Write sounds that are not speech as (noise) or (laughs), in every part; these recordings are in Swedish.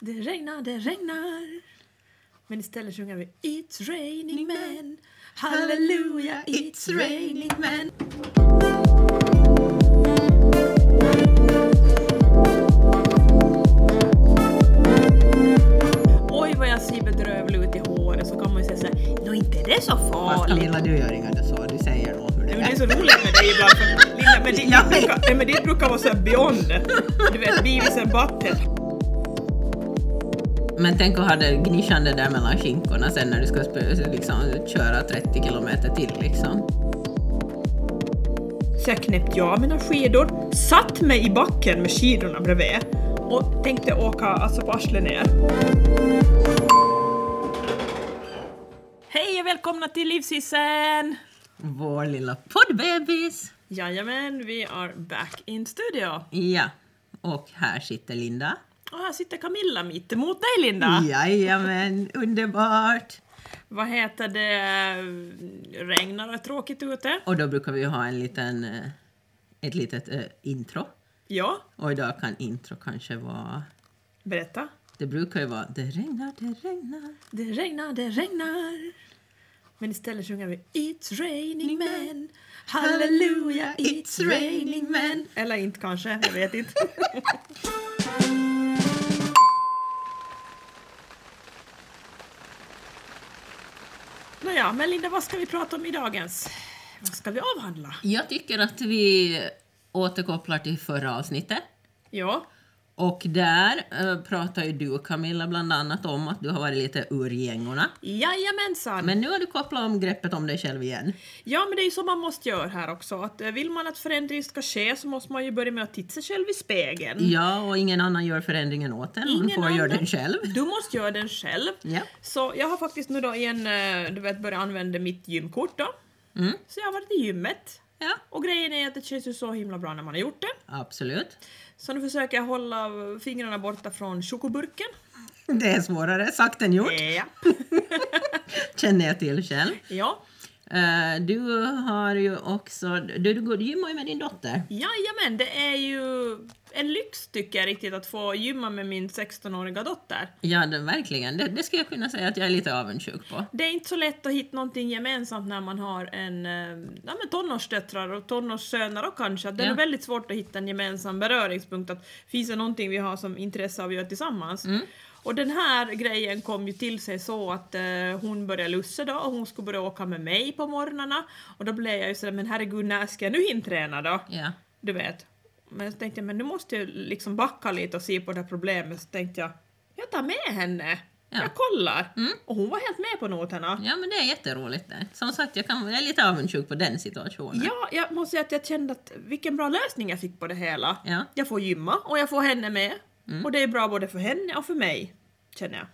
Det regnar, det regnar. Men istället sjunger vi It's raining men. Halleluja, it's raining men. Oj vad jag ser bedrövlig ut i håret så kan man ju säga såhär, nå inte är det så Fast farligt. Camilla, du gör inga dressyrer, du säger då hur Nej, det men det är är. så roligt med dig ibland. För Linda, men ditt, Ja. ditt, brukar, nej, men ditt brukar vara så här beyond. Du vet, beavis and butthead. Men tänk att ha det gnischande där mellan skinkorna sen när du ska sp- liksom, köra 30 kilometer till liksom. Så jag knäppte jag mina skidor, satt mig i backen med skidorna bredvid och tänkte åka alltså på arslet ner. Hej och välkomna till Livshissen! Vår lilla poddbebis! Jajamän, vi are back in studio. Ja, och här sitter Linda. Och här sitter Camilla mitt emot dig Linda. Mm. Jajamän, underbart! Vad heter det? Regnar och är tråkigt ute? Och då brukar vi ju ha en liten, eh, ett litet eh, intro. Ja, Och idag kan intro kanske vara... berätta. Det brukar ju vara det regnar, det regnar. Det regnar, det regnar. Men istället sjunger vi It's raining men. Halleluja, it's raining men. Eller inte kanske, jag vet inte. (laughs) Nåja, men Linda, vad ska vi prata om i dagens? Vad ska vi avhandla? Jag tycker att vi återkopplar till förra avsnittet. Ja, Och där eh, pratar ju du och Camilla bland annat om att du har varit lite ur gängorna. jajamensan. Men nu har du kopplat om greppet om dig själv igen. Ja, men det är ju så man måste göra här också. Att eh, vill man att förändring ska ske så måste man ju börja med att titta sig själv i spegeln. Ja, och ingen annan gör förändringen åt en. Hon Mm. Ingen får göra annan. den själv. Du måste göra den själv. Ja. Så jag har faktiskt nu då igen eh, du vet, börjat använda mitt gymkort då. Mm. Så jag har varit i gymmet. Ja, Och grejen är att det känns ju så himla bra när man har gjort det. (laughs) absolut. Så nu försöker jag hålla fingrarna borta från chokoburken. Det är svårare sagt än gjort, Ja. känner jag till själv. ja. Eh, Du har ju också... Du, du går- du gymmar ju med din dotter. Jajamän, det är ju en lyx tycker jag riktigt att få gymma med min 16-åriga dotter. Ja, det, verkligen. Det, det skulle jag kunna säga att jag är lite avundsjuk på. Det är inte så lätt att hitta någonting gemensamt när man har en, eh, ja, men tonårsdöttrar och tonårssöner och kanske. Att Det är Ja. nog väldigt svårt att hitta en gemensam beröringspunkt. Att finns det någonting vi har som intresse av att göra tillsammans? Och den här grejen kom ju till sig så att eh, hon började lussa då och hon skulle börja åka med mig på morgnarna. Och då blev jag ju sådär, men herregud när ska jag nu hinna träna då? Ja. Du vet. Men så tänkte jag, men nu måste jag liksom backa lite och se på det här problemet. Så tänkte jag, jag tar med henne. Ja. Jag kollar. Mm. Och hon var helt med på noterna. ja, men det är jätteroligt. Det. Som sagt, jag, kan, jag är lite avundsjuk på den situationen. Ja, jag måste säga att jag kände att vilken bra lösning jag fick på det hela. Ja. Mm. Jag får gymma och jag får henne med. Och det är bra både för henne och för mig, känner jag.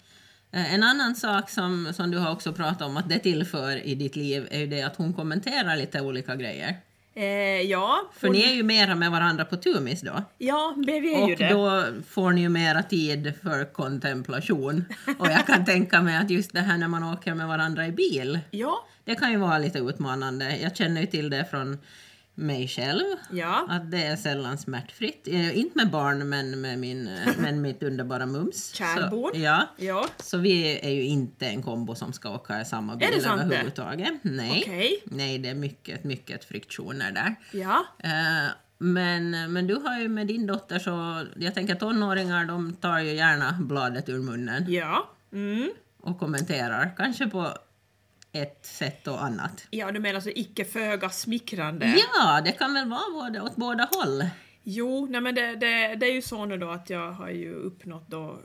Eh, En annan sak som, som du har också pratat om att det tillför i ditt liv är ju det att hon kommenterar lite olika grejer. Eh, ja, För ni är ju mera med varandra på tumis då. ja, men vi är ju Och det. då får ni ju mera tid för kontemplation. Och jag kan tänka mig att just det här när man åker med varandra i bil, Ja, det kan ju vara lite utmanande. Jag känner ju till det från mig själv. ja. Att det är sällan smärtfritt. Eh, Inte med barn, men med, min, (laughs) eh, men mitt underbara mums. Så- Kärnbord. Ja. Ja, Så vi är ju inte en kombo som ska åka i samma bil Är det sant det? överhuvudtaget. Nej. Okej. Nej, det är mycket, mycket friktioner där. ja. Eh, Men, men du har ju med din dotter så, jag tänker tonåringar de tar ju gärna bladet ur munnen Ja. Mm. och kommenterar, kanske på ett sätt och annat. Ja, du menar så icke föga smickrande? Ja, det kan väl vara både, åt båda håll. Jo, nej men det, det, det är ju så nu då att jag har ju uppnått då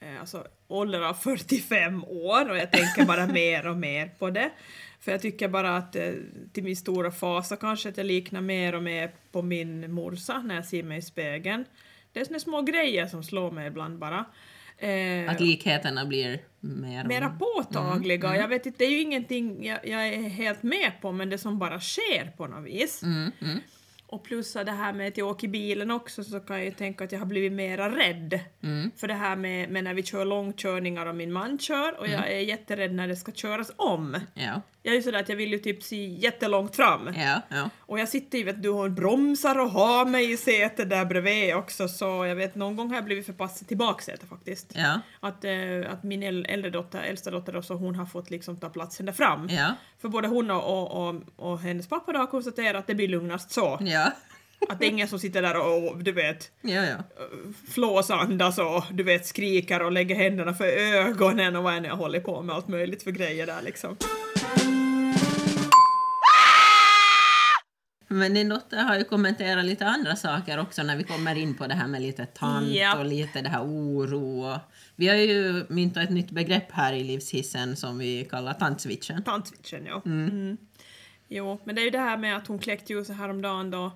eh, alltså ålder av 45 år och jag tänker bara mer och mer på det. För jag tycker bara att eh, till min stora fasa kanske att jag liknar mer och mer på min morsa när jag ser mig i spegeln. Det är såna små grejer som slår mig ibland bara. Eh, Att likheterna blir mer... och- mera påtagliga. Jag vet inte, det är ju ingenting jag, jag är helt med på men det som bara sker på något vis. Mm, mm. Och plus det här med att jag åker i bilen också så kan jag ju tänka att jag har blivit mera rädd. Mm. För det här med, Mm. med när vi kör långkörningar och min man kör och jag är jätterädd när det ska köras om. Ja. Jag är ju sådär att jag vill ju typ se jättelångt fram. Ja, ja. Och jag sitter ju vet du och bromsar och har mig i sätet där bredvid också så jag vet någon gång har jag blivit förpassad till baksätet faktiskt. Ja, Att, eh, att min äl- äldre dotter, äldsta dotter då, så hon har fått liksom ta platsen där fram. ja, För både hon och, och, och, och hennes pappa då har konstaterat att det blir lugnast så. ja, Att det är ingen som sitter där och, och du vet ja, ja. flåsandas och du vet skriker och lägger händerna för ögonen och vad än jag håller på med allt möjligt för grejer där liksom. Men din dotter har ju kommenterat lite andra saker också när vi kommer in på det här med lite tant Japp. och lite det här oro. Och... Vi har ju myntat ett nytt begrepp här i livshissen som vi kallar tantswitchen. Tantswitchen ja. Mm. Jo, men det är ju det här med att hon kläckte ju så häromdagen då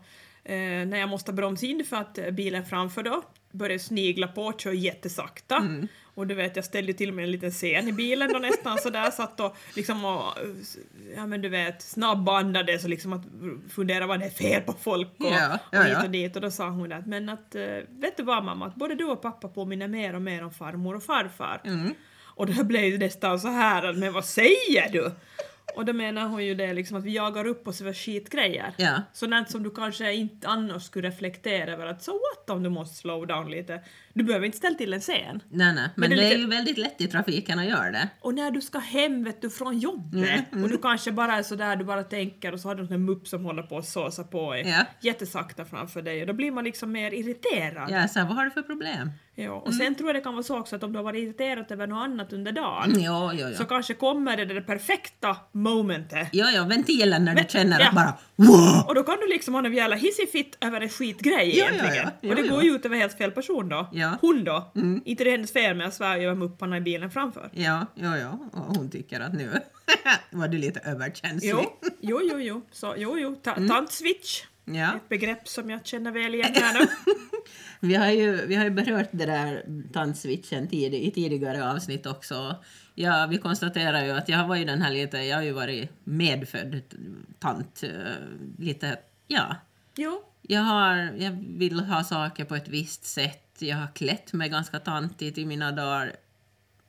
eh, när jag måste bromsa in för att eh, bilen framför då började snigla på och kör jättesakta. Mm. Och du vet, jag ställde till och med en liten scen i bilen då nästan sådär satt och liksom och, ja men du vet, snabbandades och liksom att fundera vad det är fel på folk och, Ja, ja, och hit ja. och dit och då sa hon att men att eh, vet du vad mamma, att både du och pappa påminner mer och mer om farmor och farfar. Mm. Och då blev ju nästan så här att men vad säger du? Och då menar hon ju det liksom att vi jagar upp oss över skitgrejer. Ja. Sådant som du kanske inte annars skulle reflektera över att så what om du måste slow down lite. Du behöver inte ställa till en scen. Nej, nej. Men, Men det det, är är lite- ju väldigt lätt i trafiken att göra det. Och när du ska hem vet du från jobbet Mm, och du kanske bara är sådär du bara tänker och så har du en sån där mupp som håller på och såsar på en Ja. jättesakta framför dig och då blir man liksom mer irriterad. Ja, Mm. så här, vad har du för problem? Ja, och sen tror jag det kan vara så också att om du har varit irriterad över något annat under dagen Ja, ja, så ja. kanske kommer det där perfekta momentet Ja, ja, ventilen när du känner ja. att bara wow! Och då kan du liksom ha en jävla hissig-fitt över en skitgrej Ja, ja, egentligen. ja. och det Ja, ja. går ju ut över helt fel person då. Ja. Mm. Hon då. Inte det hennes fel men jag svär ju över mupparna i bilen framför. Ja, ja, ja. Och hon tycker att nu (laughs) var du lite överkänslig. Jo, jo, jo, jo. Så, jo, jo. Ta- Tantswitch. Mm. Ja. Ett begrepp som jag känner väl (laughs) igen här nu. Vi har ju, vi har ju berört det där tandswitchen tid, i tidigare avsnitt också. Ja, vi konstaterar ju att jag var ju den här lite, jag har ju varit medfödd tant, eh, lite, ja. Jo. Jag, har, jag vill ha saker på ett visst sätt, jag har klätt mig ganska tantigt i mina dagar.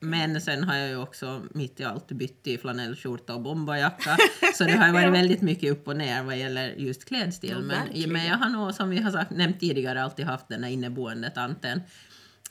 Men sen har jag ju också mitt i allt bytt till flanellskjorta (laughs) och bombajacka. Så det har ju varit Ja. väldigt mycket upp och ner vad gäller just klädstil. Ja, men, verkligen. men jag har nog, som vi har sagt, nämnt tidigare, alltid haft den här inneboende tanten.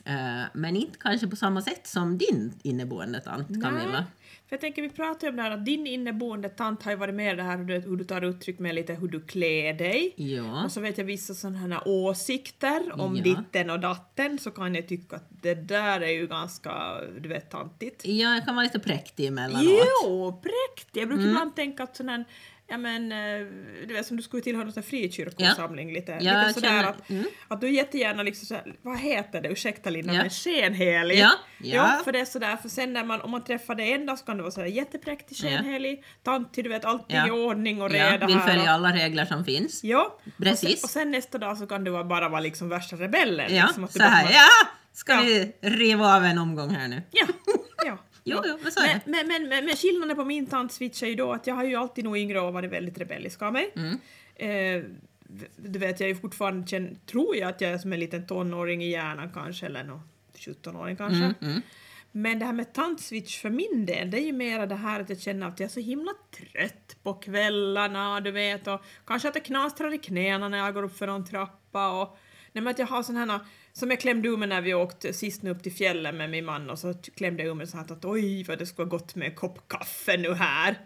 Eh, men inte kanske på samma sätt som din inneboende tant, Camilla. För jag tänker, vi pratade ju om det här att din inneboende tant har ju varit med i det här hur du, hur du tar uttryck med lite hur du klär dig. Ja. Och så vet jag vissa sådana här åsikter om Ja. ditten och datten så kan jag tycka att det där är ju ganska, du vet, tantigt. ja, jag kan vara lite präktig emellanåt. Jo, präktigt! Jag Mm. brukar ibland tänka att sån här, ja men, eh, du vet som du skulle tillhöra en frikyrkosamling lite, Ja, lite jag sådär känner- att, mm. att du jättegärna liksom såhär, vad heter det, ursäkta Linda, Ja. men skenhelig. Ja, ja. ja. för det är sådär, för sen när man, om man träffar det enda så kan det vara sådär jättepräktig, Ja. skenhelig, tantig, du vet allting Ja. i ordning och reda ja, vill här. och- följa alla regler som finns. Ja, Och Precis. sen, och sen nästa dag så kan du vara- bara vara liksom värsta rebellen. Ja, liksom, att du så här, bara- ja! Ska Ja. vi riva av en omgång här nu? ja, (laughs) ja. Jo, jo, vad sa jag? Men, men, men, men, men skillnaden på min tantswitch är ju då att jag har ju alltid nog yngre och varit väldigt rebellisk av mig. Eh, du vet, jag är ju fortfarande, känn, tror jag att jag är som en liten tonåring i hjärnan kanske, eller nå 17-åring kanske. Men det här med tantswitch för min del, det är ju mera det här att jag känner att jag är så himla trött på kvällarna, du vet, och kanske att det knastrar i knäna när jag går upp för någon trappa och Nej men att jag har sån här, som jag klämde ur mig när vi åkte sist nu upp till fjällen med min man och så t- klämde jag ur mig så här att oj vad det skulle vara gott med en kopp kaffe nu här.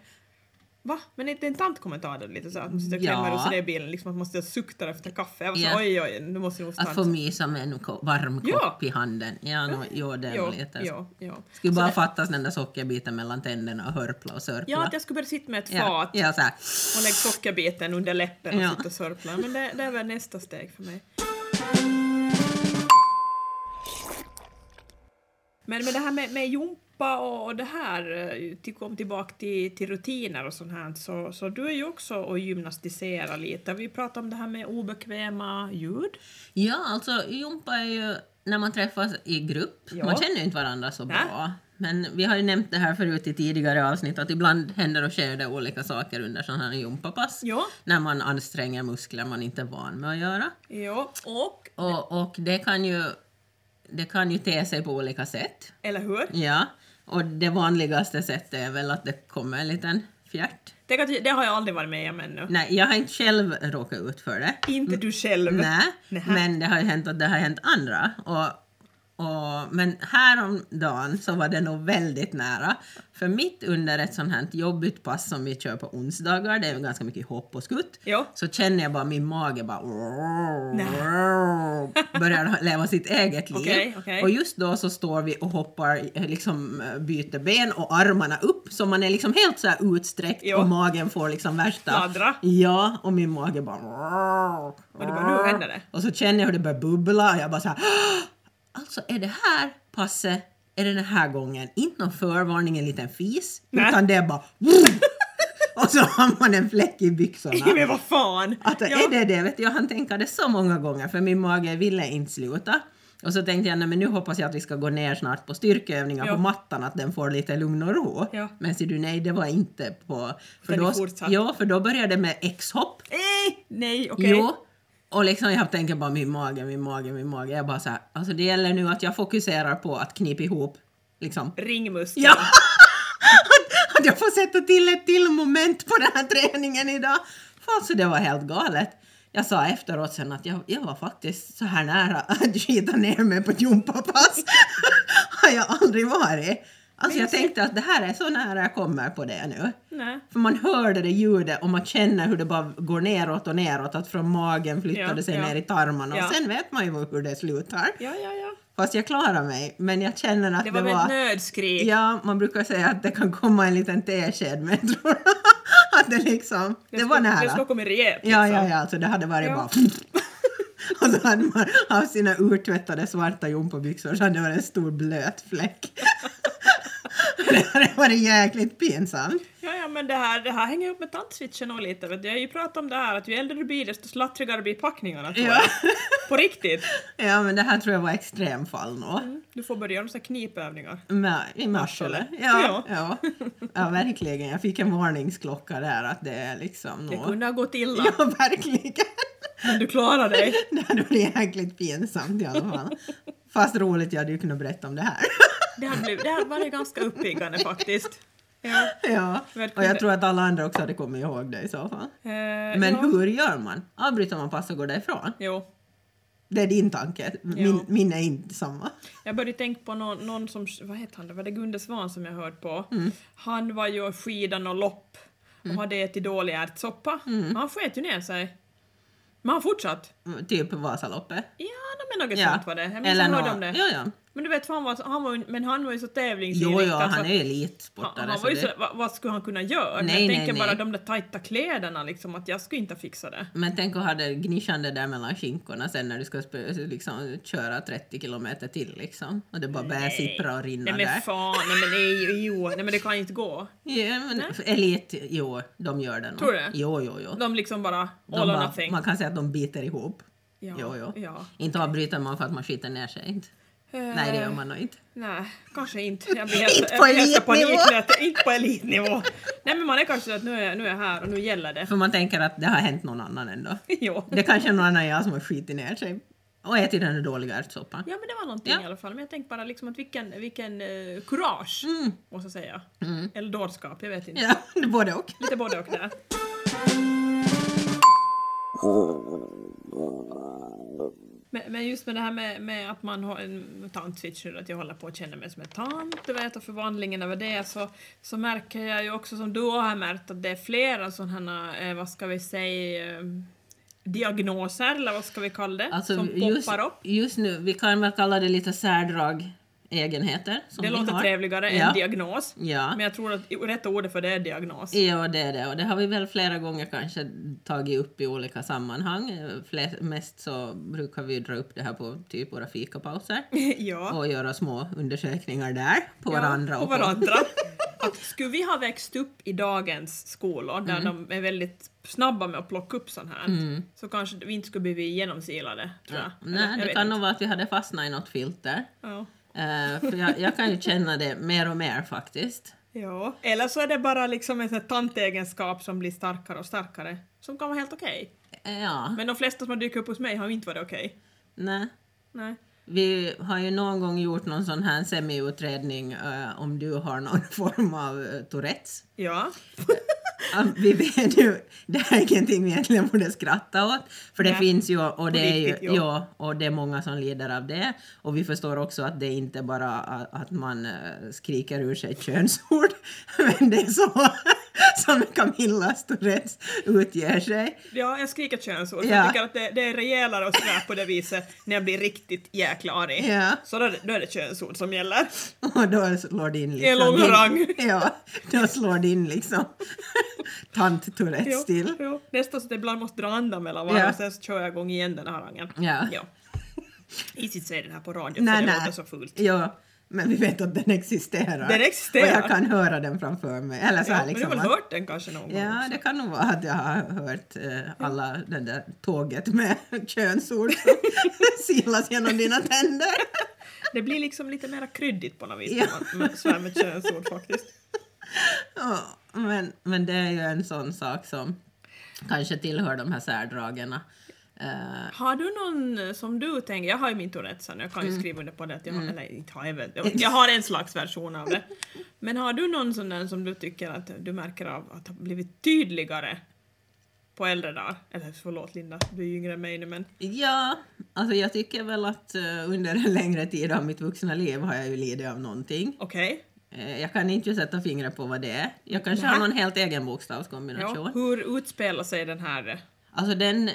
Va? Men är det en tantkommentar då lite så här, att man sitter och Ja. klämmer ur sig det i bilen liksom att man måste sukta efter kaffe. Jag var så Ja. oj oj nu måste det nog Att få stanna. mysa med en ko- varm kopp Ja. i handen. Ja, no, jo, det är nog Ja, lite. så. ja, ja. Skulle bara fattas den där sockerbiten mellan tänderna och hörpla och sörpla. Ja, att jag skulle börja sitta med ett ja, fat ja, så här. och lägga sockerbeten under läppen och Ja. sitta och sörpla. Men det, det är väl nästa steg för mig. Men, men det här med, med jumpa och, och det här, eh, till, kom tillbaka till, till rutiner och sånt här, så, så du är ju också och gymnastiserar lite. Vi pratade om det här med obekväma ljud. Ja, alltså jumpa är ju när man träffas i grupp. Ja. Man känner ju inte varandra så Nej. bra. Men vi har ju nämnt det här förut i tidigare avsnitt att ibland händer och sker det olika saker under sådana här jumpapass. Ja. När man anstränger muskler man inte är van med att göra. Ja, och, Och, och det, kan ju, det kan ju te sig på olika sätt. eller hur? Ja, och det vanligaste sättet är väl att det kommer en liten fjärt. Tänk att, det har jag aldrig varit med om ännu. Nej, jag har inte själv råkat ut för det. Inte du själv. Mm. Nej, Nähä. men det har ju hänt att det har hänt andra. Och, och, men häromdagen så var det nog väldigt nära. För mitt under ett sånt här jobbigt pass som vi kör på onsdagar, det är ju ganska mycket hopp och skutt, Ja. så känner jag bara min mage bara (laughs) börjar leva sitt eget liv. Okej, okej. Och just då så står vi och hoppar, eh, liksom eh, byter ben och armarna upp så man är liksom helt så här utsträckt Ja. och magen får liksom värsta... Fladdra. Ja, och min mage bara... Och du bara, Ah. nu händer det. Och så känner jag hur det börjar bubbla och jag bara så här, "Åh! Alltså är det här passet, är det den här gången, inte någon förvarning, en liten fis, Nej. utan det är bara... (laughs) "Vroom!" och så har man en fläck i byxorna. (laughs) Men vad fan! Att ja. är det det? Vet du, jag hann tänka det så många gånger för min mage ville inte sluta. Och så tänkte jag, nej men nu hoppas jag att vi ska gå ner snart på styrkeövningar Ja. på mattan, att den får lite lugn och ro. Ja. Men ser du, nej det var inte på... Utan det då, fortsatt. ja, för då började det med X-hopp. Nej, Eh, nej, okej. Jo. Och liksom jag tänker bara min mage, min mage, min mage. Jag bara så här, alltså det gäller nu att jag fokuserar på att knipa ihop liksom Ringmuskeln. Ja! (laughs) Att- Att jag får sätta till ett till moment på den här träningen idag. Fan, så det var helt galet. Jag sa efteråt sen att jag, jag var faktiskt så här nära (laughs) att skita ner mig på ett gympapass. (laughs) Har jag aldrig varit. Alltså jag tänkte att det här är så nära jag kommer på det nu. Nej. För man hörde det ljudet och man känner hur det bara går neråt och neråt. Att från magen flyttade Ja, sig ja. ner i tarmarna. Ja. Och sen vet man ju hur det slutar. Ja, ja, ja. Fast jag klarar mig. Men jag känner att Det det var var... väl ett nödskrik. Ja, man brukar säga att det kan komma en liten tesked, men jag tror (laughs) att det liksom, det var skulle- Det skulle nära. komma rejält. Ja, liksom. ja, ja, alltså det hade varit Ja. bara... (laughs) Och så hade man haft sina urtvättade svarta gympabyxor så hade det varit en stor blöt fläck. (laughs) Det hade varit jäkligt pinsamt. Ja, ja, men det här, det här hänger ihop med tantswitchen och lite. Vet du. Jag har ju pratat om det här att ju äldre du blir desto slattrigare blir packningarna. tror Ja. jag. På riktigt. Ja, men det här tror jag var extremfall nog. Du får börja med så här knipövningar. Med, I Marsele. Ja, ja. ja, verkligen. Jag fick en varningsklocka där att det är liksom... Det nå- kunde ha gått illa, Ja, verkligen. men du klarar dig. Det hade varit jäkligt pinsamt i alla fall. Fast roligt, jag hade ju kunnat berätta om det här. (laughs) Det här, blev, det här var ju ganska uppiggande faktiskt. Ja. Ja, och Verkligen. jag tror att alla andra också hade kommit ihåg det i så fall. Eh, Men ja. hur gör man? Avbryter man pass och går därifrån? Jo. Det är din tanke. Min, Ja. min är inte samma. Jag började tänka på någon, någon som, vad heter han, det var det Gunde Svan som jag hörde på. Mm. Han var ju skidan och lopp och hade ätit dålig ärtsoppa. Men han sket ju ner sig. Men han fortsatt. Mm, Typ Vasaloppet. Ja, nej, men något sånt var det. Jag minns Eller jag hörde nå- om det. Ja, ja. Men du vet, för han var, han var, ju- men han var ju så Jo, tävlingsinriktad. ja, så- han är han, elitsportare. han var ju så så, det- vad, vad skulle han kunna göra? Nej, jag nej, tänker nej. bara de där tajta kläderna liksom, att jag skulle inte fixa det. Men tänk att ha det gnischande där mellan skinkorna sen när du ska sp- liksom, köra 30 kilometer till liksom. Och det bara börjar sippra och rinna nej men där. fan, nej men nej, jo, nej men det kan ju inte gå. Ja, men elit, jo, de gör det nog. Tror du det? Jo, jo, jo. De liksom bara, all De or bara- nothing. man kan säga att de biter ihop. ja, Jo, jo. ja. Inte avbryter man för att man skiter ner sig. Inte. Nej, det gör man nog inte. Nej, kanske inte. Jag blir helt, Inte jag på blir helt elitnivå. panik nu att- Inte på elitnivå. Nej men man är kanske att nu är, jag- nu är jag här och nu gäller det. (laughs) För man tänker att det har hänt någon annan ändå. jo. Det kanske är någon annan än jag som har skitit ner sig och ätit den där dåliga ärtsoppan. Ja men det var någonting Ja. i alla fall. Men jag tänkte bara liksom att vilken, vilken eh, courage, Mm. måste jag säga. Eller dårskap, jag vet inte. Ja, (laughs) både och. Lite både och där. Men, men just med det här med, med att man har en tantswitch nu, att jag håller på att känna mig som en tant, du vet, och förvandlingen över det, så, så märker jag ju också som du har märkt att det är flera sådana här, eh, vad ska vi säga, eh, diagnoser, eller vad ska vi kalla det, Alltså, som poppar just, upp. just nu, vi kan väl kalla det lite särdrag, egenheter. Som Det vi låter har. trevligare ja. än diagnos. Ja. Men jag tror att rätta ordet för det är diagnos. Ja, det är det. Och det har vi väl flera gånger kanske tagit upp i olika sammanhang. Eh, Flest, mest så brukar vi dra upp det här på typ våra fikapauser (laughs) ja. och göra små undersökningar där på varandra. Ja, på och (laughs) varandra. Att skulle vi ha växt upp i dagens skolor där Mm. de är väldigt snabba med att plocka upp sånt här så kanske vi inte skulle bli genomsilade. Tror jag. Eller, Nej, jag det vet kan inte. nog vara att vi hade fastnat i något filter. Ja. Eh, för jag, jag kan ju känna det mer och mer faktiskt. ja. Eller så är det bara liksom en sån här tantegenskap som blir starkare och starkare som kan vara helt okej. Eh, Ja, Men de flesta som har dykt upp hos mig har ju inte varit okej. nej. Nej. Vi har ju någon gång gjort någon sån här (laughs) semiutredning eh, om du har någon form av eh, Tourettes. Ja. Ja, vi vet ju, det här är ingenting vi egentligen borde skratta åt, för det Nej. finns ju och det, är ju, riktigt, ja. ja, och det är många som lider av det. Och vi förstår också att det är inte bara a- att man eh, skriker ur sig könsord, (laughs) men det är så (laughs) som Camilla Tourettes utger sig. Ja, jag skriker könsord. för Ja. Jag tycker att det, det är rejälare att svära på det viset när jag blir riktigt jäkla arg. Ja. Så då är, det, då är det könsord som gäller. Och då slår det in liksom... En lång rang. (laughs) Ja, då slår det in liksom (laughs) tant Tourettes till. jo. Nästan så att jag ibland måste dra andan mellan varven Ja. och sen så kör jag igång igen den här rangen. Ja. ja. Easy att säga den här på radio Nej, för det nej. låter så fult. Ja, men vi vet att den existerar. Den existerar. Och jag kan höra den framför mig. Eller så Ja, här, men du liksom har väl att- hört den kanske någon gång? Ja, det kan nog vara att jag har hört eh, alla det där tåget med (laughs) könsord som (laughs) silas genom dina tänder. (laughs) Det blir liksom lite mer kryddigt på något vis Ja. när man svär med könsord faktiskt. Ja, men, men det är ju en sån sak som kanske tillhör de här särdragen. Eh, Har du någon som du tänker, jag har ju min Tourettes här nu, jag kan ju Mm. skriva under på det att jag har, eller inte har jag väl, jag- jag har en slags version av det. Men har du någon sån där som du tycker att du märker av att har blivit tydligare på äldre dagar? Eller förlåt Linda, du är ju yngre än mig nu men Ja, alltså jag tycker väl att eh, under en längre tid av mitt vuxna liv har jag ju lidit av någonting. okej. Eh, Jag kan inte sätta fingret på vad det är. Jag kanske har Nähä. någon helt egen Ja, bokstavskombination. hur utspelar sig den här... Alltså den,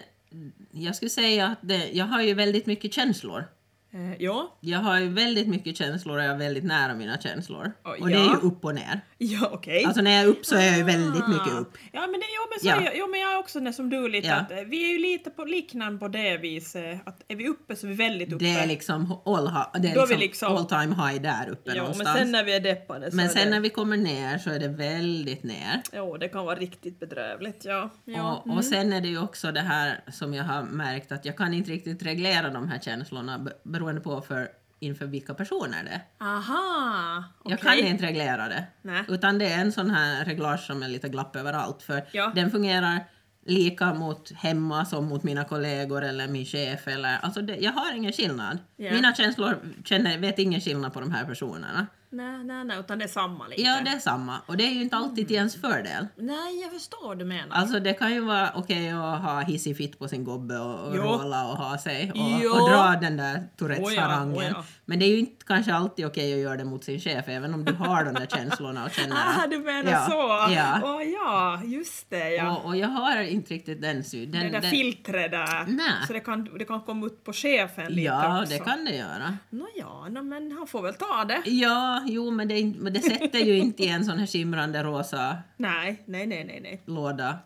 jag skulle säga att det, jag har ju väldigt mycket känslor. Eh, ja, (laughs) Jag har ju väldigt mycket känslor och jag är väldigt nära mina känslor. Oj, och det är ju ja. upp och ner. ja okej. Alltså när jag är upp så är jag ju väldigt mycket Ah. upp. Ja men, det, ja, men, så Ja. Är jag, ja, men jag är också när som du lite Ja. att eh, vi är ju lite på liknande på det viset att är vi uppe så är vi väldigt uppe. Det är liksom all, ha- det är Då är vi liksom, liksom- all time high där uppe ja, men någonstans. sen när vi är deppade så men är sen det, när vi kommer ner så är det väldigt ner. Jo, det kan vara riktigt bedrövligt. Ja. ja. mm. Och, och sen är det ju också det här som jag har märkt att jag kan inte riktigt reglera de här känslorna be- beroende på för, inför vilka personer det är. Aha! Jag okej. kan inte reglera det. Nej. Utan det är en sån här reglage som är lite glapp överallt. För Ja. den fungerar lika mot hemma som mot mina kollegor eller min chef. Eller, alltså det, jag har ingen skillnad. Ja. Mina känslor känner, vet ingen skillnad på de här personerna. Nej, nej, nej, utan det är samma lite. Ja, det är samma. Och det är ju inte alltid till ens fördel. Nej, jag förstår vad du menar. Alltså det kan ju vara okej att ha hissig fitt på sin gobbe och, och Jo. råla och ha sig Jo. och, och dra den där Oh ja, Tourettes-harangen. oh ja. Men det är ju inte kanske alltid okej att göra det mot sin chef även om du (laughs) har de där känslorna och känner Ah, att- du menar ja, så! Ja. Åh, ja, just det ja. Och, och jag har inte riktigt den syn. Den, det där den- filtret där. Nej. Så det kan, det kan komma ut på chefen lite Ja, också. det kan det göra. Nåja, nå, men han får väl ta det. Ja, jo, men det, är inte- men det sätter ju inte i en sån här skimrande rosa Nej, nej, nej, nej, nej. låda.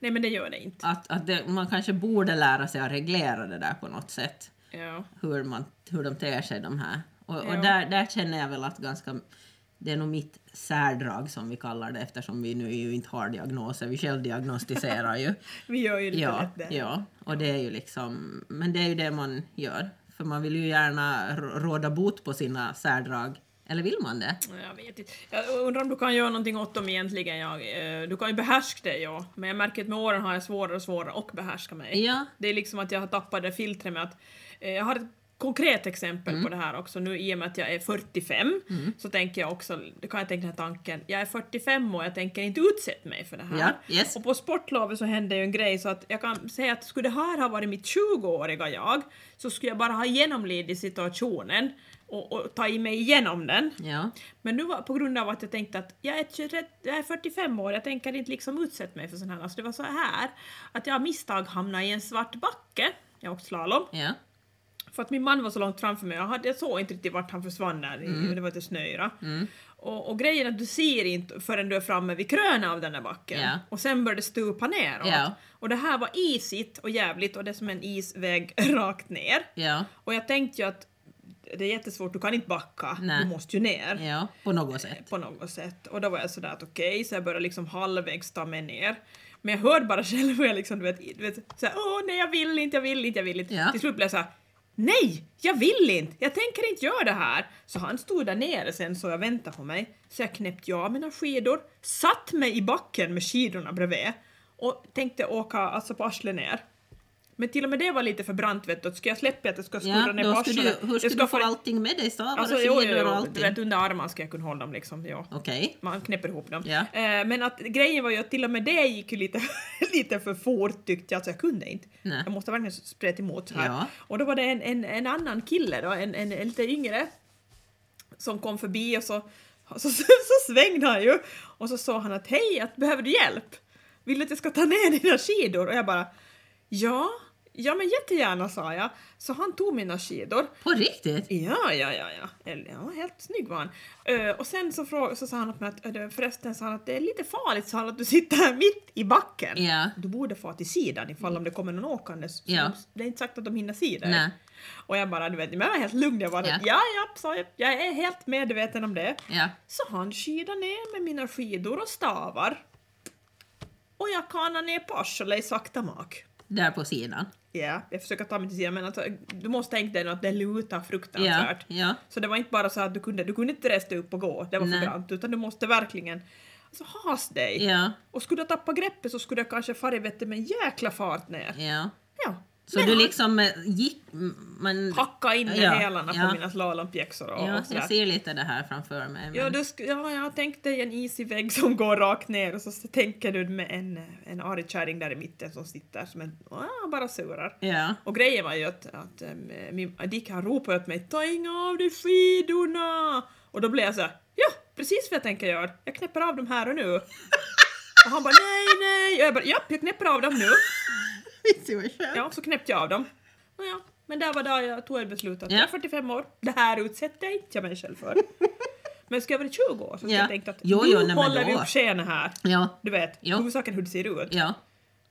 Nej, men det gör det inte. Att, att det, man kanske borde lära sig att reglera det där på något sätt. Ja. hur, man, hur de ter sig de här. Och, och Ja. där, där känner jag väl att ganska, det är nog mitt särdrag som vi kallar det eftersom vi nu ju inte har diagnoser, vi (laughs) självdiagnostiserar ju. Vi gör ju lite ja, lätt det. ja, och det är ju liksom, men det är ju det man gör. För man vill ju gärna r- råda bot på sina särdrag. Eller vill man det? Jag vet inte. Jag undrar om du kan göra någonting åt dem egentligen. Jag, eh, du kan ju behärska det, ja. Men jag märker att med åren har jag svårare och svårare att behärska mig. Ja. Det är liksom att jag har tappat det filtret med att... Eh, jag har ett konkret exempel Mm. på det här också. Nu i och med att jag är 45 så tänker jag också, då kan jag tänka den här tanken, jag är 45 och jag tänker inte utsätta mig för det här. Ja, yes. Och på sportlovet så hände ju en grej så att jag kan säga att skulle det här ha varit mitt 20-åriga jag så skulle jag bara ha genomlidit situationen och, och ta i mig igenom den. Ja. Men nu var på grund av att jag tänkte att jag är, 23, jag är 45 år, jag tänker inte liksom utsätta mig för sånt här. Alltså det var så här att jag av misstag hamnade i en svart backe, jag åkte slalom, Ja. för att min man var så långt framför mig. Jag, hade, jag såg inte riktigt vart han försvann där, i- Mm. det var lite snöyra. Och, och grejen är att du ser inte förrän du är framme vid kröna av den där backen. Ja. Och sen började det stupa neråt. Ja. Och det här var isigt och jävligt och det är som en isväg (laughs) rakt ner. Ja. Och jag tänkte ju att det är jättesvårt, du kan inte backa, Nej. du måste ju ner Ja. På något sätt. på något sätt. Och då var jag sådär att okej, så jag började liksom halvvägs ta mig ner. Men jag hörde bara (laughs) själv hur jag liksom, du vet, du vet såhär, åh nej jag vill inte, jag vill inte, jag vill inte. Ja. Till slut blev jag såhär, nej, jag vill inte, jag tänker inte göra det här. Så han stod där nere sen så jag väntade på mig. Så jag knäppte jag mina skidor, satt mig i backen med skidorna bredvid och tänkte åka alltså på arslet ner. Men till och med det var lite för brant vet du. Ska jag släppa att det ska snurra Ja, ner då på skulle arslet? du, hur Det skulle du få få- allting med dig? Stavar Alltså, och jo, skidor jo, och jo, du allting? vet under armarna ska jag kunna hålla dem liksom. Ja. Okej. (laughs) Man knäpper ihop dem. Ja. Eh, Men att grejen var ju att till och med det gick ju lite, (laughs) lite för fort tyckte jag, alltså jag kunde inte. Nej. Jag måste verkligen spreta emot här. Ja. Och då var det en, en, en annan kille då, en, en, en lite yngre, som kom förbi och så, (laughs) så, så, så svängde han ju och så sa han att hej, att, behöver du hjälp? Vill du att jag ska ta ner (laughs) dina skidor? Och jag bara ja, ja men jättegärna sa jag. Så han tog mina skidor På riktigt? Ja, ja, ja, ja. Eller, ja helt snygg var han. Eh, och sen så, frå- så sa han åt mig att, eh, förresten sa han att det är lite farligt, sa han att du sitter här mitt i backen. Ja. Du borde få till sidan ifall om det kommer någon åkande. Så Ja. Det är inte sagt att de hinner se dig. Nej. Och jag bara, du vet, men jag var helt lugn. Jag bara, Ja. ja, ja, sa jag. Jag är helt medveten om det. Ja. Så han skidar ner med mina skidor och stavar. Och jag kanar ner på arslet i sakta mak. Där på sidan. Ja, jag försöker ta mig till sidan men alltså, du måste tänka dig att det lutar Ja. fruktansvärt. ja. Så det var inte bara så att du kunde, du kunde inte resa dig upp och gå, det var Nej. för brant, utan du måste verkligen alltså, has dig. Ja. Och skulle du tappa greppet så skulle du kanske farit vet du, med en jäkla fart ner. Ja. Ja. Så Men du han liksom eh, gick... Man, hackade in med Ja, hälarna ja. på mina slalompjäxor och, ja, och sådär. jag ser lite det här framför mig. Ja, Men, du sk- ja, jag tänkte en isig vägg som går rakt ner och så, så tänker du med en, en arg kärring där i mitten som sitter som en, ah, bara surar. (laughs) ja. Och grejen var ju att, att äm, min, Dick han ropade åt mig ta inga av dig skidorna! Och då blev jag så här, ja precis vad jag tänker göra, jag knäpper av dem här och (laughs) nu. Och han bara nej nej, och jag bara japp jag knäpper av dem nu. Visst, det var skönt. Ja, så knäppte jag av dem. Och ja, men där var där jag tog ett beslut att Ja. jag är 45 år, det här utsätter jag inte mig själv (laughs) för. Men ska jag vara 20 år så ska Ja. jag tänka att Jo, jo, nu nej, men håller vi då. upp skenet här. Ja. Du vet, Jo. huvudsaken är hur det ser ut. ja.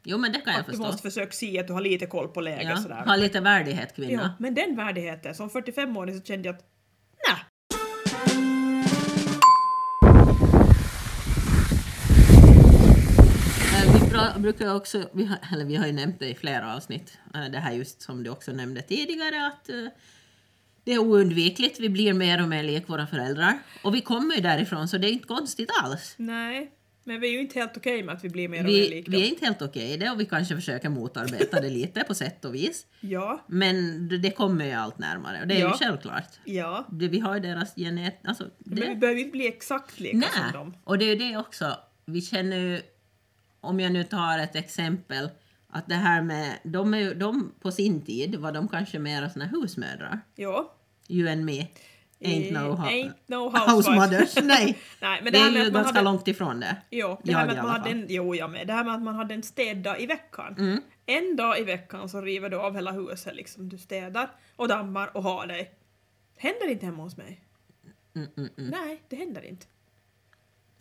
Jo, men det kan jag Du förstå. måste försöka se att du har lite koll på läget Ja. sådär. Ha lite värdighet, Ja, kvinna. men den värdigheten, som 45-åring så kände jag att nej. Eh, Vi bra- brukar också, vi har, eller vi har ju nämnt det i flera avsnitt, eh, det här just som du också nämnde tidigare att eh, det är oundvikligt, vi blir mer och mer lik våra föräldrar. Och vi kommer ju därifrån så det är inte konstigt alls. Nej, men vi är ju inte helt okej med att vi blir mer och mer Vi, lika. vi är inte helt okej i det och vi kanske försöker motarbeta det lite på sätt och vis. Ja, Men det- det kommer ju allt närmare och det är ju Ja. självklart. ja. Det, vi har ju deras genet... Alltså, det, Men vi behöver ju inte bli exakt lika som dem. och det är ju det också. Vi känner ju, om jag nu tar ett exempel, att det här med, de, är, ju- de på sin tid var de kanske mera såna husmödrar. Ja. You and me. Ain't no, Eh, ho- ain't (laughs) no house housewife. mothers. Nej. (laughs) Nej, men det det här är med ju att man ganska hade- långt ifrån det. Jo, det Jag här i med att alla man hade fall. Mm. en, jo, jag med. Det här med att man hade en städdag i veckan. En dag i veckan så river du av hela huset liksom. Du städar och dammar och har dig. Händer inte hemma hos mig. Mm, mm, mm. Nej, det händer inte.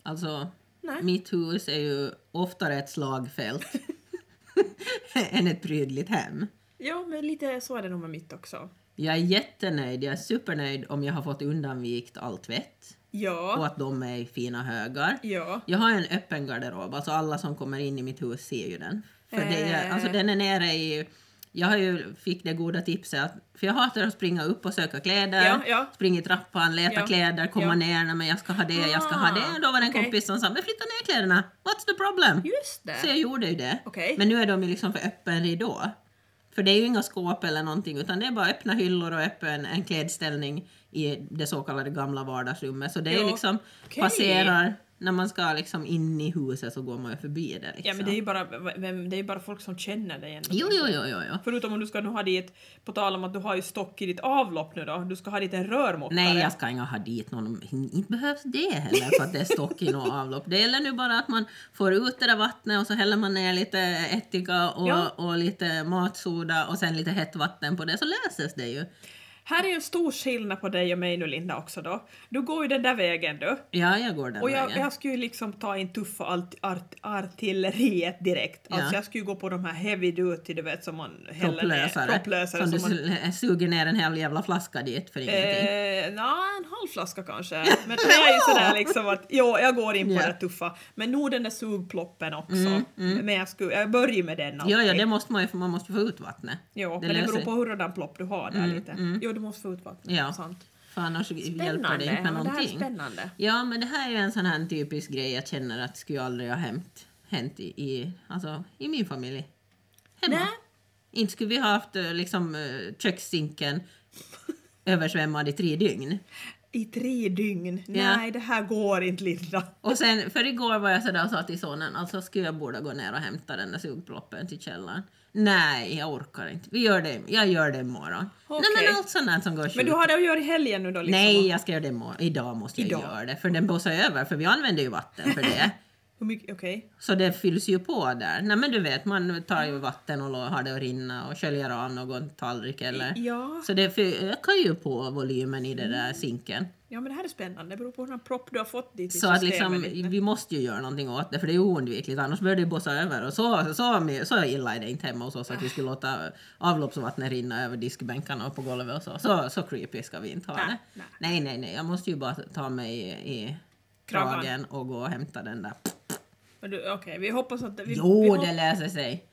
Alltså, Nej. mitt hus är ju oftare ett slagfält (laughs) än ett prydligt hem. Jo, men lite så är det nog med mitt också. Jag är jättenöjd, jag är supernöjd om jag har fått undanvikt all tvätt och Ja, att de är i fina högar. ja. Jag har en öppen garderob, alltså alla som kommer in i mitt hus ser ju den. För det är, Eh. alltså den är nere i... Jag har ju fick det goda tipset, att, för jag hatar att springa upp och söka kläder, Ja, ja. springa i trappan, leta Ja, kläder, komma ja. ner, "Nej, men jag ska ha det, jag ska ha det. Och då var det Ah, en okej. kompis som sa, men flytta ner kläderna, what's the problem? Just det. Så jag gjorde ju det. Okej. Men nu är de ju liksom för öppen ridå. För det är ju inga skåp eller någonting utan det är bara öppna hyllor och öppen en klädställning i det så kallade gamla vardagsrummet. Så det är Ja. liksom Okej. passerar, när man ska liksom in i huset så går man ju förbi det. Liksom. Ja men det är ju bara, vem, det är ju bara folk som känner dig. ändå. Jo, jo, jo, jo, jo. Förutom om du ska nu ha dit, på tal om att du har ju stock i ditt avlopp nu då, du ska ha dit en rörmokare. Nej, jag ska inte ha dit någon. Inte behövs det heller för att det är stock i något avlopp. Det gäller nu bara att man får ut det där vattnet och så häller man ner lite ättika och, Ja. och lite matsoda och sen lite hett vatten på det så löses det ju. Här är ju en stor skillnad på dig och mig nu Linda också då. Du går ju den där vägen du. Ja, jag går den Och jag, vägen. jag skulle ju liksom ta in tuffa art, art, artilleriet direkt. Alltså Ja. jag skulle ju gå på de här heavy duty du vet som man häller Propplösare. ner. Propplösare. Som du man, su- suger ner en hel jävla flaska dit för ingenting. Eh, Nja, en halv flaska (laughs) kanske. Men det är ju sådär liksom att jo, jag går in på Ja. Mm, det tuffa. Men nog den där sugploppen också. Men jag, skulle, jag börjar med den alltid. Ja, ja, det måste man ju, för man måste få ut vattnet. Jo, det men det löser- Mm, beror på hurdan plopp du har där lite. Jo, du måste få ut vattnet. Ja. Sant. För annars hjälper Spännande. det inte Ja, med det här är någonting. spännande. ja, men det här är ju en sån här typisk grej jag känner att skulle aldrig ha hänt, hänt i, i, alltså, i min familj. Hemma. Nej. Inte skulle vi ha haft eh, liksom, eh, kökssinken översvämmad i tre dygn. I tre dygn. Ja. Nej, det här går inte Linda. Och sen, för igår var jag sådär och sa till sonen, alltså skulle jag borde gå ner och hämta den där sugproppen till källaren? Nej, jag orkar inte. Vi gör det, jag gör det imorgon. Nej Okej. men allt sånt där som går Men sjukt. du har det att göra i helgen nu då? Liksom. Nej, jag ska göra det imorgon. Idag måste jag Idag. göra det, för den blåser över, för vi använder ju vatten (laughs) för det. Hur mycket- Okej. Så det fylls ju på där. Nej men du vet, man tar ju vatten och lå- har det att rinna och sköljer av någon tallrik eller... Ja. Så det fy- ökar ju på volymen i den där sinken. ja, men det här är spännande. Det beror på hur många propp du har fått dit i Så att systemet liksom, lite. vi måste ju göra någonting åt det, för det är oundvikligt, annars börjar det ju blåsa över. Och så, så, så, så illa är det inte hemma hos oss att vi skulle låta avloppsvattnet rinna över diskbänkarna och på golvet och så. Så, så creepy ska vi inte ha Nej, det. nej. Nej, nej, nej, jag måste ju bara ta mig i, i Kragan. kragen och gå och hämta den där. Men du, Okej, vi hoppas att det, vi, vi Jo, hop- det löser sig!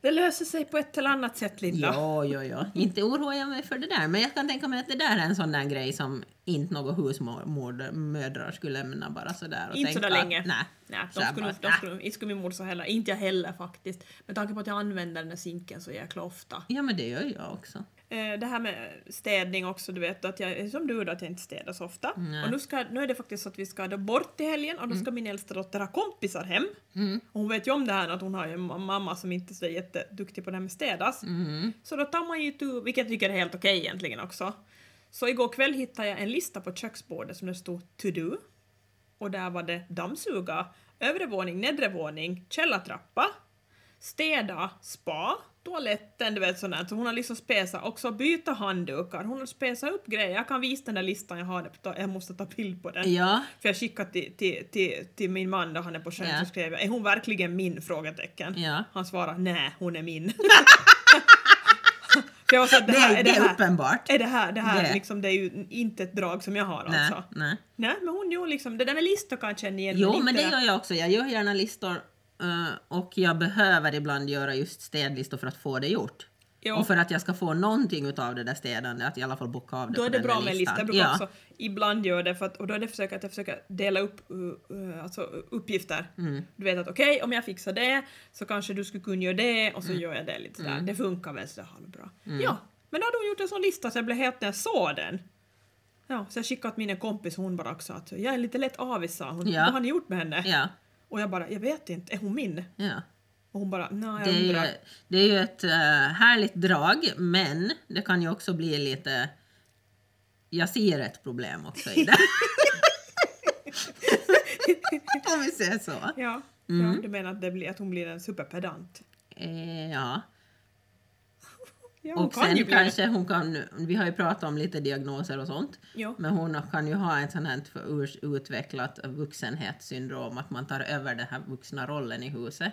det löser sig på ett eller annat sätt Linda. Ja, ja, ja. Inte oroar jag mig för det där, men jag kan tänka mig att det där är en sån där grej som inte några husmödrar skulle lämna bara sådär. Och Inte tänka sådär länge. Att, nej. Nej, Så de jag skulle, bara, de nej. skulle, inte skulle min mor så heller. Inte jag heller faktiskt. Med tanke på att jag använder den här sinken så jäkla ofta. Ja, men det gör jag också. Eh, det här med städning också, du vet att jag är som du då, att jag inte städar så ofta. Nej. Mm. Och nu, ska, nu är det faktiskt så att vi ska då bort till helgen och då ska min äldsta dotter ha kompisar hem. Och hon vet ju om det här att hon har ju en ma- mamma som inte är så jätteduktig på det här med städas. Så då tar man ju tur, vilket jag tycker är helt okej egentligen också. Så igår kväll hittade jag en lista på köksbordet som det stod to do. Och där var det dammsuga, övre våning, nedre våning, källartrappa, städa, spa, toaletten, du vet sånt där. Så hon har liksom spesat, också byta handdukar, hon har spesat upp grejer. Jag kan visa den där listan jag har, där på ta- jag måste ta bild på den. Ja, För jag skickade till, till, till, till min man då han är på sjön Ja. så skrev jag är hon verkligen min? frågetecken. Ja. Han svarade nej, hon är (laughs) min. (laughs) För jag var så att, det, det, här, är det, det, är här, uppenbart. är det här, det här Det. Liksom, det är ju inte ett drag som jag har Nej, alltså. nej. Nej, men hon gjorde liksom, det där med listor kan jag känna igen. Jo, inte men det där- gör jag också. Jag gör gärna listor eh, och jag behöver ibland göra just städlistor för att få det gjort. Jo. Och för att jag ska få någonting utav det där städandet, att i alla fall bocka av det Då på är det den bra där med en lista. listan. Jag brukar ja. också ibland göra det, för att, och då är det försöker att jag försöker dela upp uh, uh, alltså uh, uppgifter. Mm. Du vet att okej, om jag fixar det så kanske du skulle kunna göra det och så Mm. gör jag det lite sådär. Det funkar väl sådär bra. Ja, men då hade hon gjort en sån lista så jag blev helt när jag såg den. Ja, så jag skickade åt min kompis hon bara också att jag är lite lätt avis sa hon. Ja. Vad har ni gjort med henne? Ja, Och jag bara, jag vet inte, är hon min? ja. Och hon bara, nej Det jag är, undrar. ju, det är ju ett eh, härligt drag, men det kan ju också bli lite... Jag ser ett problem också (laughs) i det. (laughs) Om vi säger så. Ja, ja, Mm. du menar att, det blir, att hon blir en superpedant? Eh, ja. Ja, hon Och kan ju sen bli det. kanske hon kan... Vi har ju pratat om lite diagnoser och sånt. Ja. Men hon kan ju ha ett sånt här för- urs- utvecklat vuxenhetssyndrom, att man tar över den här vuxna rollen i huset.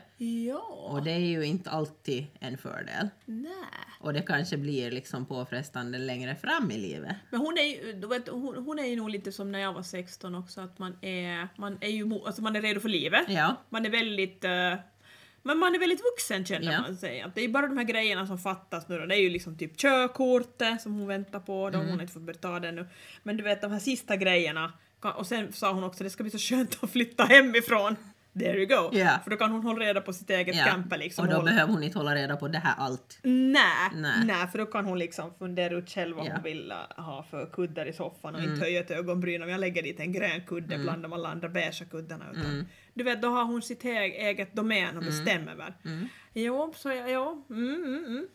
Ja. Och det är ju inte alltid en fördel. Nej. Och det kanske blir liksom påfrestande längre fram i livet. Men hon är, ju, du vet, hon, hon är ju nog lite som när jag var 16 också, att man är, man är, ju, mo- alltså man är redo för livet. Ja. Man är väldigt eh, men man är väldigt vuxen känner Ja. man sig. Att det är bara de här grejerna som fattas nu då. Det är ju liksom typ körkortet som hon väntar på, då Mm. hon har inte fått betala det nu. Men du vet de här sista grejerna. kan- Och sen sa hon också det ska bli så skönt att flytta hemifrån. There you go. Ja. För då kan hon hålla reda på sitt eget Ja. camper liksom. och då hålla- behöver hon inte hålla reda på det här allt. Nej, Nej. nej. för då kan hon liksom fundera ut själv vad Ja. Mm. hon vill eh, ha för kuddar i soffan och inte höja ett ögonbryn om jag lägger dit en grön kudde bland de alla andra beigea kuddarna. Utan, Mm. Du vet, då har hon sitt e- eget domän och bestämmer över. Mm. Jo, så jag, jo. Mm, mm,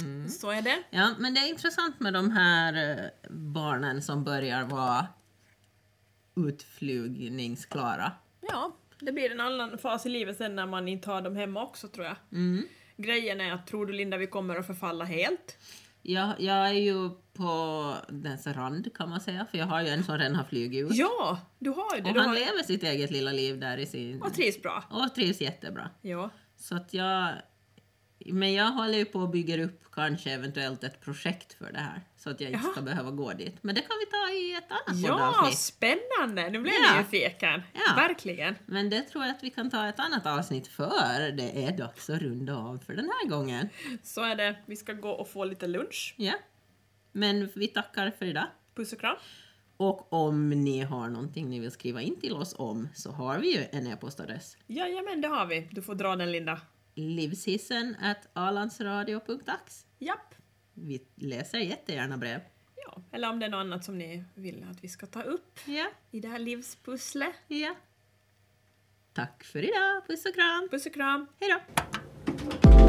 mm. Så är det. Mm, Ja, men det är intressant med de här eh, barnen som börjar vara utflugningsklara. Ja, det blir en annan fas i livet sen när man inte har dem hemma också tror jag. Mm. Grejen är att, tror du Linda vi kommer att förfalla helt? Jag, jag är ju på dess rand kan man säga, för jag har ju en som redan har flugit ut. Ja, du har ju det. Mm. Och Du han har, lever sitt eget lilla liv där i sin... och trivs bra. Och trivs jättebra. Ja. Så att jag... Men jag håller ju på och bygger upp kanske eventuellt ett projekt för det här. Så att jag inte Jaha. ska behöva gå dit. Men det kan vi ta i ett annat Ja, poddavsnitt. spännande! Nu blev Ja. jag nyfiken. Ja. Verkligen. Men det tror jag att vi kan ta ett annat avsnitt för. Det är dags att runda av för den här gången. Så är det. Vi ska gå och få lite lunch. Ja. Men vi tackar för idag. Puss och kram. Och om ni har någonting ni vill skriva in till oss om så har vi ju en e-postadress. Jajamän, det har vi. Du får dra den Linda. livshissen at alandsradio.ax. Japp. Vi läser jättegärna brev. Ja. Eller om det är något annat som ni vill att vi ska ta upp Ja, i det här livspusslet. ja. Tack för idag. Puss och kram. Puss och kram! Hej då.